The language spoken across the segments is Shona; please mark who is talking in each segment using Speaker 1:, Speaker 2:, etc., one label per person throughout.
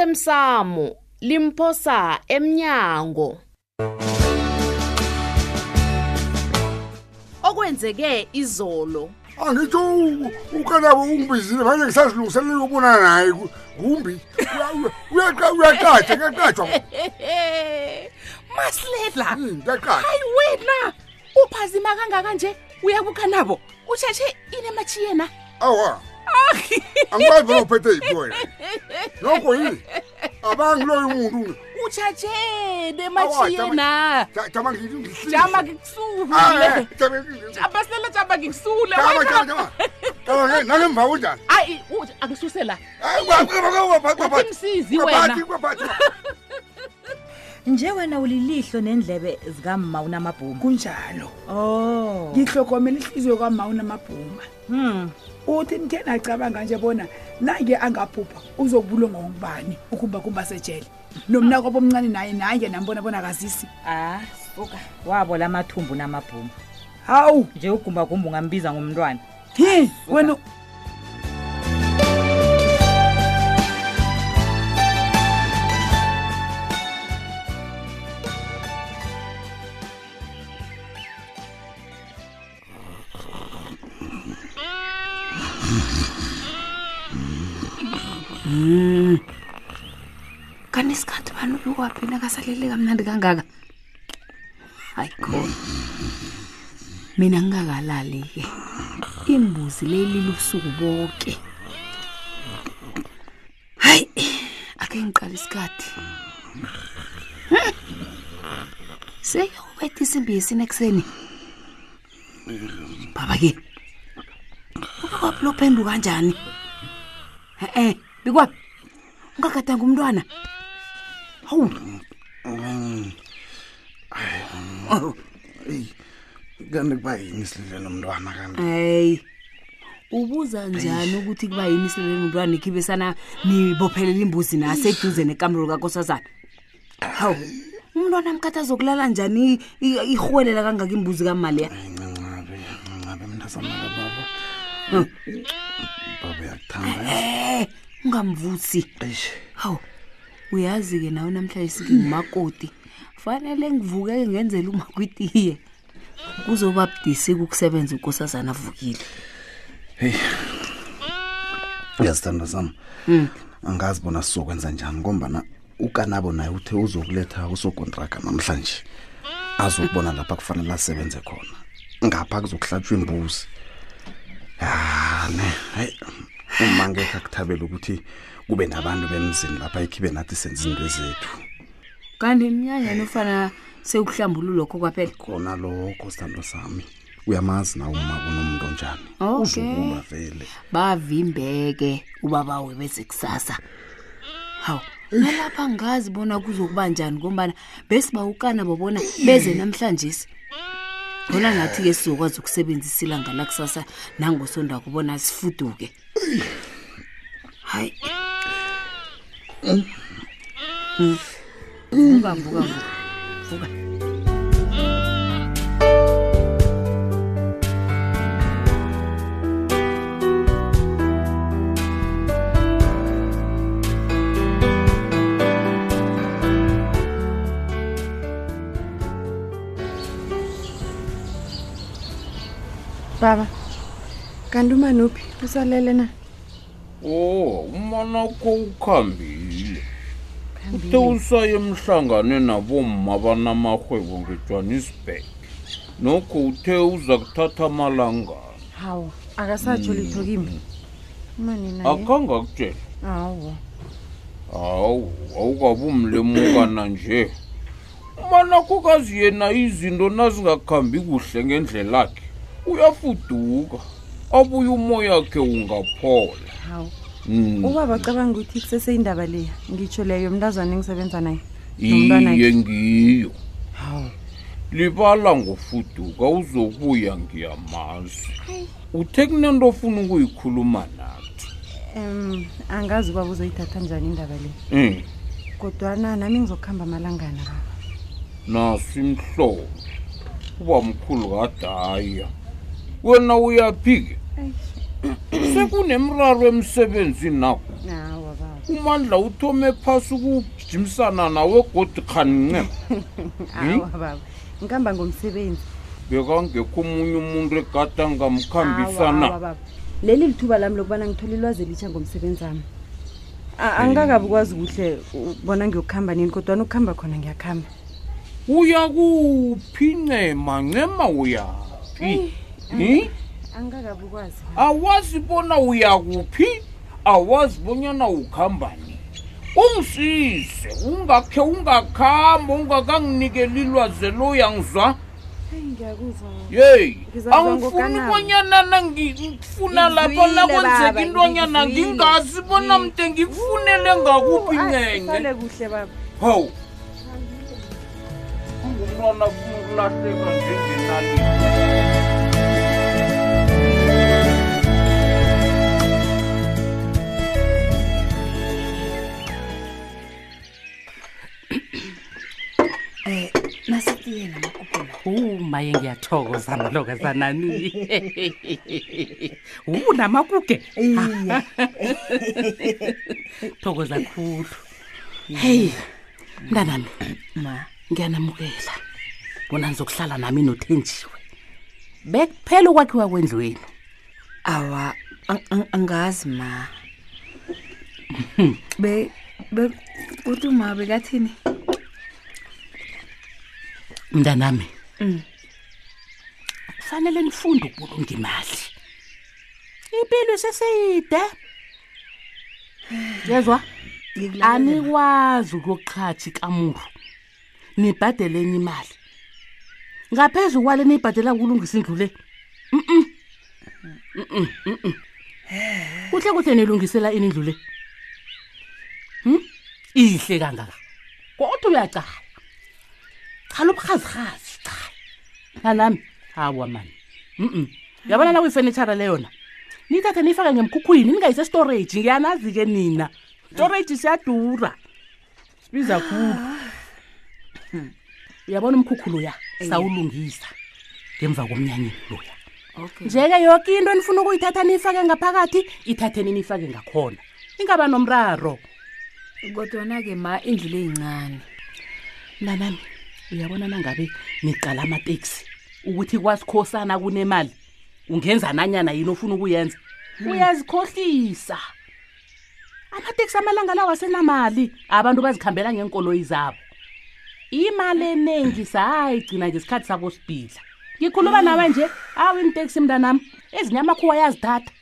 Speaker 1: osemsamo limphosa emnyango okwenzeke izolo
Speaker 2: angitsho u- ukanabo ungibizile manje ngisazilungiselela ukubonana naye ku- kumbi uyaqatha kuyaqatshwa
Speaker 3: masilela
Speaker 2: kuyaqatshwa
Speaker 3: hayi wena uphazima kangaka nje uyakukha nabo usheshe inemachi yena
Speaker 2: awa angikwazi bona uphethe yiphi wena nokho yini abangiloyo umuntu
Speaker 3: usheshe
Speaker 2: Awa,
Speaker 3: nemachi
Speaker 2: jama-
Speaker 3: yena
Speaker 2: Ja- jama ngithi ngihlise.
Speaker 3: jama
Speaker 2: Ah, eh,
Speaker 3: ngikusule
Speaker 2: jama ngihlise.
Speaker 3: jama silela jama ngikusule
Speaker 2: Jama, jama, jama. Jama, nge- nangemva kunjani
Speaker 3: hayi u- angisusela
Speaker 2: Hayi, kwa- kwa- kwa- kwa- kwa- kwa- kwa-
Speaker 3: Uthimsizi
Speaker 2: kwa-
Speaker 3: wena.
Speaker 2: kwa- kwa- kwa- kwa-
Speaker 4: nje wena ulilihlo nendlebe zikamma unamabhuma
Speaker 5: kunjalo
Speaker 4: oh
Speaker 5: ngihlokomela inhliziyo kwama unamabhuma
Speaker 4: hmm.
Speaker 5: uthi nithe nacabanga nje bona nange angabhubha uzokubulwa ngokubani ukuba kuba sejele nomna kwabo omncane naye nange nambona bona kazisi
Speaker 4: ah suka wabo la mathumbu namabhuma
Speaker 5: hawu
Speaker 4: nje ugumbagumba ungambiza ngomntwana
Speaker 5: ye wena
Speaker 6: kanti isikhathi bani ubikwaphi nakasalele kamnandi kangaka hayi khona mina ngingakalali-ke imbuzi lelile ubusuku bonke hayi ake ngiqala isikhathi Hmm. seyobetha isimbi yesine ekuseni baba-ke ubikwaphi lophendu kanjani e-e bikwaphi ungagadanga umntwana hawu
Speaker 7: kanti kuba yini silile nomntwana kanti
Speaker 6: hayi ubuza njani ukuthi kuba yini isilele nomntwana nikhibe sana nibophelela imbuzi naseduze nekamelo kakosazana hawu umntwana mkhathi azokulala njani i- i- irhwelela kangaka imbuzi kamali ya
Speaker 7: incancabe incancabe mntasamaka baba Hmm. baba uyakuthanda
Speaker 6: e ungamvusi
Speaker 7: eish
Speaker 6: hawu uyazi-ke nawe namhlanje singingumakoti fanele ngivukeke ngenzela umakwitiye kuzoba budisika ukusebenza ukosazana avukile
Speaker 7: uyazithanda sam angazi bona sizokwenza njani ngombana ukanabo naye uthe uzokuletha usokontraga namhlanje azokubona lapha kufanele asebenze khona ngapha kuzokuhlatshwa imbuzi yane hayi uma ngekho akuthabela ukuthi kube nabantu bemzini lapha ikhibe nathi senza izinto zethu
Speaker 6: kanti mnyanyani ofana sewukuhlambulula lokho kwaphela
Speaker 7: khona lokho sithando sami uyamazi nawe uma kunomuntu onjani
Speaker 6: Okay.
Speaker 7: uzokuba vele
Speaker 6: bavimbeke ubabawe beze kusasa hawu nalapha ngazi bona kuzokuba njani ngombana besibawukana babona beze namhlanje ngona ngathi-ke sizokwazi ukusebenzisa ilanga lakusasa nangosonda kubona sifuduke hayi vuka vuka vuka vuka
Speaker 8: baba kanti umanuphi usalele na
Speaker 9: Oh, umanakho ukhambile. Uthe usaye emhlangane nabomma banamahwebo ngeJohannesburg. Nokho uthe uza kuthatha amalanga.
Speaker 8: hawu akasatsho litho kimi umani naye
Speaker 9: Akhanga kutshela.
Speaker 8: hawu
Speaker 9: Hawu, awukabumlemukana nje. Umanakho kazi yena izinto nazingakhambi kuhle ngendlela yakhe. Uyafuduka. Abuye umoya wakhe ungaphola.
Speaker 8: hawu
Speaker 9: Mm.
Speaker 8: ubaba cabanga ukuthi kuseseyindaba leya ngitsho leyo mntazane engisebenza naye nomntwanakhe.
Speaker 9: iye ngiyo libala ngofuduka uzobuya ngiyamazi uthe kunento ofuna ukuyikhuluma nathi
Speaker 8: um angazi ubaba uzoyithatha njani indaba le
Speaker 9: um
Speaker 8: kodwana nami ngizokuhamba amalangana baba
Speaker 9: naso imhlobo uba mkhulu kadaya wena uyaphi-ke
Speaker 8: Eish.
Speaker 9: sekunemraro emsebenzini nakho
Speaker 8: hawa baba
Speaker 9: umandla uthome phasi ukujimisana nawe godi khanincema
Speaker 8: awa baba ngihamba ngomsebenzi
Speaker 9: bekangekho omunye umuntu egada ngamkhambisana
Speaker 8: Awa, awa, baba leli lithuba lami lokubana ngithole ilwazi elitsha ngomsebenzi wami A- angikakabi ukwazi kuhle bona ngiyokuhamba nini kodwana ukuhamba khona ngiyakuhamba
Speaker 9: uya kuphi ncema ncema
Speaker 8: Eh,
Speaker 9: uyaphi Hmm?
Speaker 8: angikakabi ukwazi
Speaker 9: awazi bona uya kuphi awazi bonyana ukhambani ungisize ungakhe ungakhamba ungakanginikeli lwazi loyangizwa
Speaker 8: hayi ngiyakuzwa
Speaker 9: yeyi
Speaker 8: Ngizakuzwa
Speaker 9: angifuni
Speaker 8: ngokanabo.
Speaker 9: bonyana nangifuna lapha
Speaker 8: Ngizwile,
Speaker 9: nakwenzeka
Speaker 8: baba,
Speaker 9: intonyana
Speaker 8: ngizwile.
Speaker 9: ngingazi bona mde ngikufunele ngakuphi ngenge
Speaker 8: sale kuhle baba
Speaker 9: hawu ungumntwana kumkulahleka njengenalini
Speaker 5: nasitiye namakubhula
Speaker 10: umaye ngiyathokoza mlokozanani unamakuge
Speaker 4: iye
Speaker 10: thokoza khulu
Speaker 5: heyi mntanami
Speaker 4: ma
Speaker 5: ngiyanamukela bona nizokuhlala nami nothenjiwe bekuphela ukwakhiwa kwendlweni
Speaker 4: awa ang- ang- angazi ma
Speaker 8: be be uthi uma bekathini
Speaker 5: mntanami kufanele nifunde ukubulunga imali impilo seseyide yezwa anikwazi ukuyoqhatshi kamuru nibhadele enye imali ngaphezu kwale niyibhadela ukulungisa indlu le Mm-mm. Mm-mm, mm-mm. kuhle kuhle nilungisela ini indlu le Hmm? ihle kangaka kodwa uyacala chala ubukhazikhazi chala nanami hawa mani mm yabona la kuyifenitshara leyona niyithathe niyifake ngemkhukhwini ningayise storage ngiyanazi-ke nina storage siyadura sibiza khulu uyabona umkhukhulo ya sawulungisa ngemva komnyanyeni loya nje-ke yoke into enifuna ukuyithatha niyifake ngaphakathi ithatheni niyifake ngakhona ingaba nomraro
Speaker 8: kodwana-ke ma indlu le yincane
Speaker 5: mnanami uyabona nangabe niqala amateksi ukuthi kwasikhosana kunemali ungenza nanyana yini ofuna ukuyenza
Speaker 8: Hmm.
Speaker 5: uyazikhohlisa amateksi amalanga lawo asenamali abantu bazikhambela ngeenkoloyi zabo imali eningi sayigcina ngesikhathi sabo sibhidla ngikhuluma nawe nje awu initeksi mntanami ezinye amakhuwa ayazithatha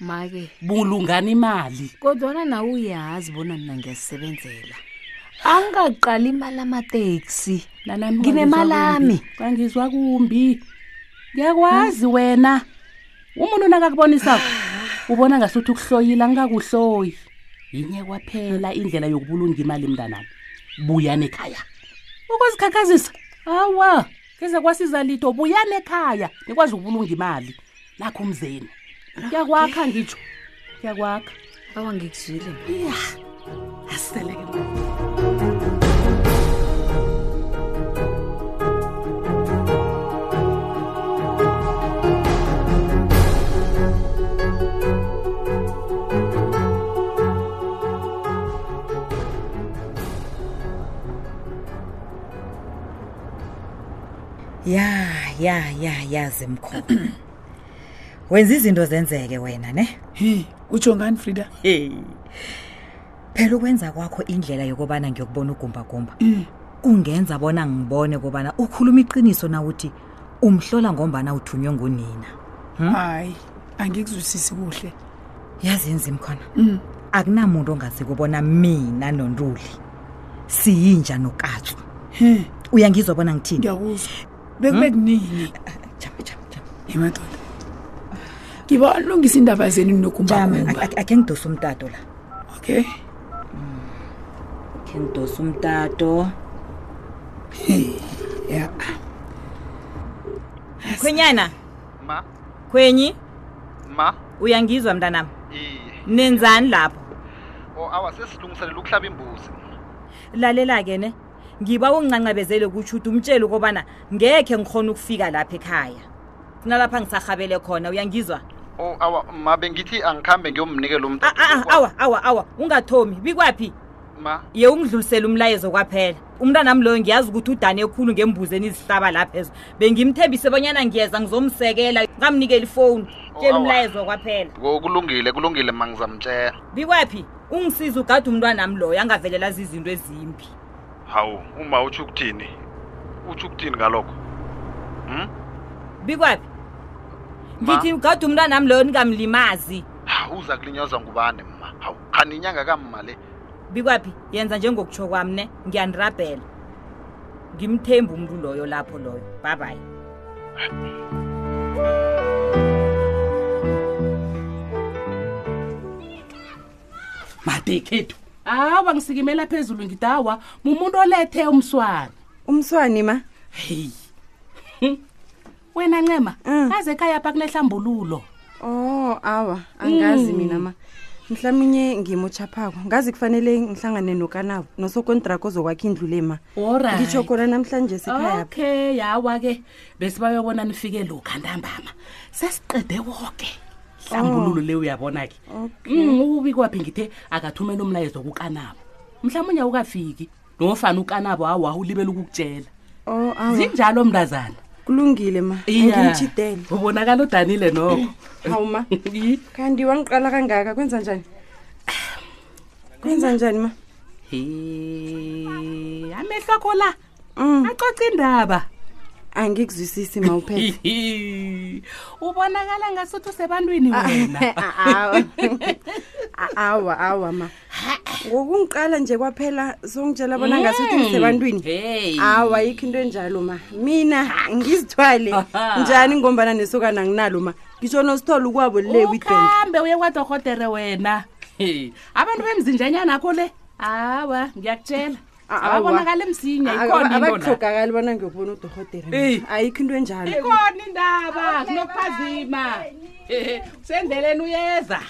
Speaker 8: ma-ke
Speaker 5: bulungani imali
Speaker 8: kodwana nawe uyazi bona mna ngiyasebenzela angaqali imali amateksi
Speaker 5: nanami
Speaker 8: Nginemali ami.
Speaker 5: kwangizwa kumbi ngiyakwazi wena umuntu nakakubonisako ubona ngasuthi ukuhloyile angikakuhloyi yinye kwaphela indlela yokubulunga imali mntanami buyani ekhaya ukuzikhakhazisa awa ngeze kwasiza lito buyani ekhaya nikwazi ukubulunga imali nakho umzeni kuyakwakha ngitsho kuyakwakha
Speaker 8: awa ngikuzwile
Speaker 5: iya asiseleke
Speaker 4: ya ya ya yazi mkhulu wenza izinto zenzeke wena ne
Speaker 11: hi utsho ngani frida
Speaker 4: phela ukwenza kwakho indlela yokubana ngiyokubona ugumbagumba kungenza bona ngibone kobana ukhuluma iqiniso na uthi umhlola ngombana uthunywe ngunina
Speaker 5: Hmm?
Speaker 11: hayi angikuzwisisi kuhle
Speaker 4: yazenza imkhona akunamuntu ongazi kubona mina nontuli siyinja nokatshu
Speaker 11: he
Speaker 4: uyangizwa bona ngithini
Speaker 11: ngiyakuzwa
Speaker 5: Hmm?
Speaker 11: bekube kunini
Speaker 4: jama jama jama
Speaker 11: emadoda ngiba alungisa iindaba zenu nokumbagumba
Speaker 4: Ak- ak- ake ngidose umtato la
Speaker 11: okay
Speaker 4: ake ngidose umtato
Speaker 11: ya
Speaker 4: khwenyana
Speaker 12: ma
Speaker 4: khwenyi
Speaker 12: ma
Speaker 4: uyangizwa mntanam
Speaker 12: iye
Speaker 4: nenzani lapho
Speaker 13: oh,
Speaker 12: o awa sesilungiselela ukuhlaba imbuzi
Speaker 4: lalela-ke ne ngiba ungincancabezele kutshuthi umtshele ukobana ngekhe ngikhona ukufika lapha ekhaya kunalapha ngisarhabele khona uyangizwa
Speaker 13: o Oh, awa ma bengithi angikhambe ngiyomnikela umntu
Speaker 4: Ah, awa awa awa ungathomi bikwaphi
Speaker 13: ma
Speaker 4: ye ungidlulisele umlayezo kwaphela umntanami loyo ngiyazi ukuthi udane ekhulu ngembuzeni izihlaba laphezo bengimthembise bonyana ngiyeza ngizomsekela ngamnikela ifowuni tshela
Speaker 13: Oh, awa.
Speaker 4: umlayezo kwaphela
Speaker 13: Ko- kulungile kulungile ma ngizamtshela
Speaker 4: bikwaphi ungisize ugade umntwanami loyo angavelela zizinto ezimbi
Speaker 13: hawu uma utsho ukuthini utsho ukuthini ngalokho hm
Speaker 4: bikwaphi
Speaker 13: Ma.
Speaker 4: ngithi ugade umntwanami loyo ningamlimazi
Speaker 13: hawu uza kulinyazwa ngubani ma hawu khani inyanga kamma le
Speaker 4: bikwaphi yenza njengokutsho kwami ne ngiyanirabhela ngimthembi umntu loyo lapho loyo babayi
Speaker 3: madekhethu awa ngisikimela phezulu ngidawa mumuntu olethe umswane
Speaker 8: umswani ma
Speaker 3: heyi wena ncema
Speaker 11: Hmm.
Speaker 3: aze ekhaya pha kunehlambululo
Speaker 8: oh awa angazi
Speaker 3: Mm.
Speaker 8: mina ma mhlawumunye ngimotshaphako ngazi kufanele ngihlangane nokanabo nosokontrako ozokwakha indlu le ma
Speaker 3: Alright.
Speaker 8: ngitsho khona namhlanje sekhaya
Speaker 3: okay yawa-ke besibayobona nifike lokha ntambama sesiqede woke hlambululo le uyabona-ke Mm, ubikwaphi ngithe akathumela umlayezo kukanabo mhlawumbe unye ukafiki nofana ukanabo awa ulibela ukukutshela
Speaker 8: oh awa
Speaker 3: zinjalo mntazana
Speaker 8: kulungile ma
Speaker 3: Iya.
Speaker 8: ngimtshidele
Speaker 3: ubonakala udanile nokho
Speaker 8: hawu ma kanti wangiqala kangaka kwenza njani kwenza njani ma
Speaker 3: he Eh, amehlo akho la
Speaker 8: Mm.
Speaker 3: acoca indaba
Speaker 8: angikuzwisisi ma uphethe
Speaker 3: Hihi. ubonakala ngasuthi usebantwini wena
Speaker 8: awa A- awa awa ma ngokungiqala nje kwaphela songitshela bona ngasuthi ngisebantwini
Speaker 3: Hmm. hey
Speaker 8: awa yikho into enjalo ma mina ngizithwale
Speaker 3: Aha.
Speaker 8: njani ngombana nesokana anginalo ma ngitsho nosithole ukwabo le weekend
Speaker 3: ukhambe uye kwadorhotere wena He, abantu bemzinjanyana akho le awa ngiyakutshela
Speaker 8: A- awa.
Speaker 3: ababonakale msinya ikhona into la.
Speaker 8: abakuhlogakali bona ngiyokubona
Speaker 3: Eyi.
Speaker 8: udorhotere ayikho into enjalo
Speaker 3: ikhona indaba sinokuphazima Hehe, sendleleni uyeza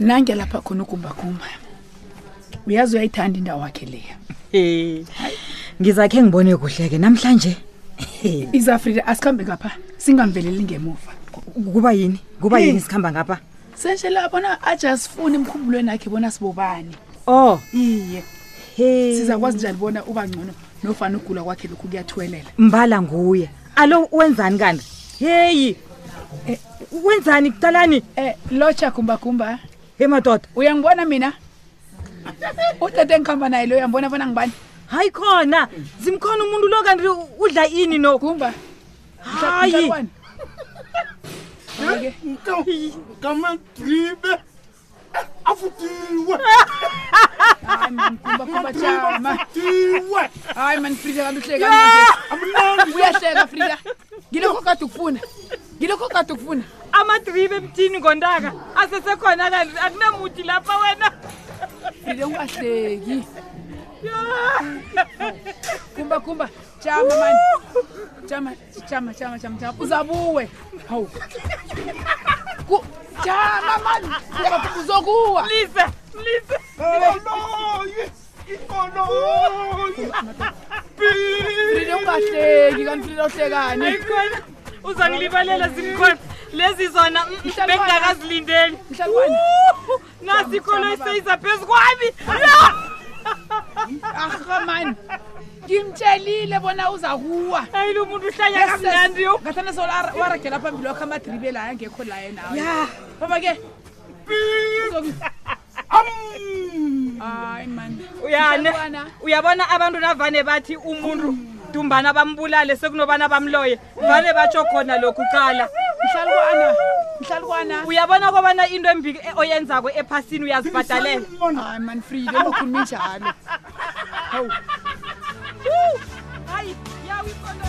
Speaker 5: nange lapha khona ugumbagumba uyazi uyayithanda indawo wakhe leya
Speaker 4: ngizakhe ngibone kuhle-ke namhlanje
Speaker 5: izafrida asikhambe ngapha singamveleli ngemuva
Speaker 4: kuba yini kuba
Speaker 5: Eh.
Speaker 4: yini sikhamba ngapha
Speaker 5: senshela bona ajasifuni emkhumbulweni akhe bona sibobani
Speaker 4: oh
Speaker 5: iye
Speaker 4: he
Speaker 5: sizakwazi njani bona uba ngcono nofana ugula kwakhe lokhu kuyathwelela
Speaker 4: mbala nguye alo wenzani kanti heyi Eh, wenzani kutalani
Speaker 5: um lotsha gumbagumba
Speaker 4: he madoda
Speaker 5: uyangibona mina utete engihamba naye lo uyambona bona ngibani
Speaker 4: hayi khona zimkhona umuntu lo kanti u- udla ini no
Speaker 5: gumba
Speaker 4: hayi
Speaker 5: Hayi-ke.
Speaker 9: kamadribe afutiwe
Speaker 5: hayi man gumba gumba jama
Speaker 9: tiwe
Speaker 5: hayi man frida kanti uhleka manje. uyahleka frida ngilokho kade ukufuna ngilokho kade ukufuna
Speaker 4: amadribe emthini ngontaka asesekhona kanti akunamuthi lapha wena
Speaker 5: frida ungahleki
Speaker 4: Ah.
Speaker 5: gumba gumba jama man jama jama jama jama jama uzabuwe hawu Ku- jama man gumba gumba uzokuwa
Speaker 4: lise lise
Speaker 9: ikoloyi ikoloyi
Speaker 5: frida ungahleki kanti frida uhlekani
Speaker 4: ayikhona uzangilibalela zimkhona lezi zona mm, mm,
Speaker 5: Mhlalukwana.
Speaker 4: bengingakazilindeli
Speaker 5: Mhlalukwana.
Speaker 4: Wuhu,
Speaker 5: Jama,
Speaker 4: nasi ikholo
Speaker 5: jama, baba.
Speaker 4: iseyizaphezu kwami ah.
Speaker 5: arhamani ngimtshelile bona uzakuwa
Speaker 4: ayilo umuntu uhlanya kamnandi yo
Speaker 5: ngathana sewaragela phambili wakho amadribe la angekho la yena ya baba ke hayi man
Speaker 4: Uyane.
Speaker 5: Mhlalukwana.
Speaker 4: uyabona abantu navane bathi umuntu dumbana bambulale sekunobana bamloye vane batsho khona lokhu kala
Speaker 5: mhlalukwana mhlalukwana
Speaker 4: uyabona kobana into embi e- oyenzako ephasini uyazibhadalela
Speaker 5: hayi man frida ungakhulumi njalo hawu
Speaker 4: hayi yawe ikolo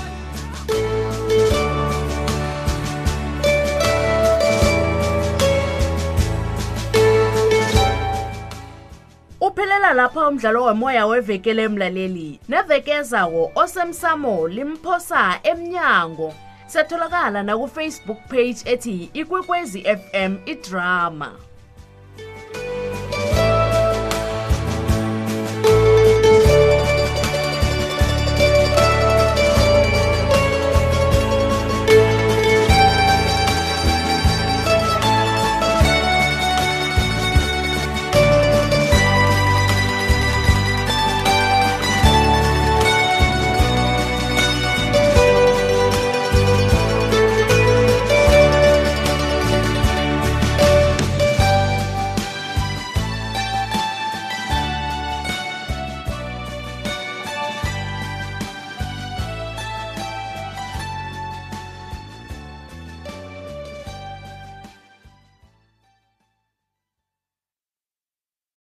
Speaker 3: uphelela
Speaker 1: Uphela lapha umdlalo womoya wevekele emlaleli. Nevekezawo osemsamo limphosa emnyango. Setholakala na ku Facebook page ethi Ikwekwezi FM iDrama.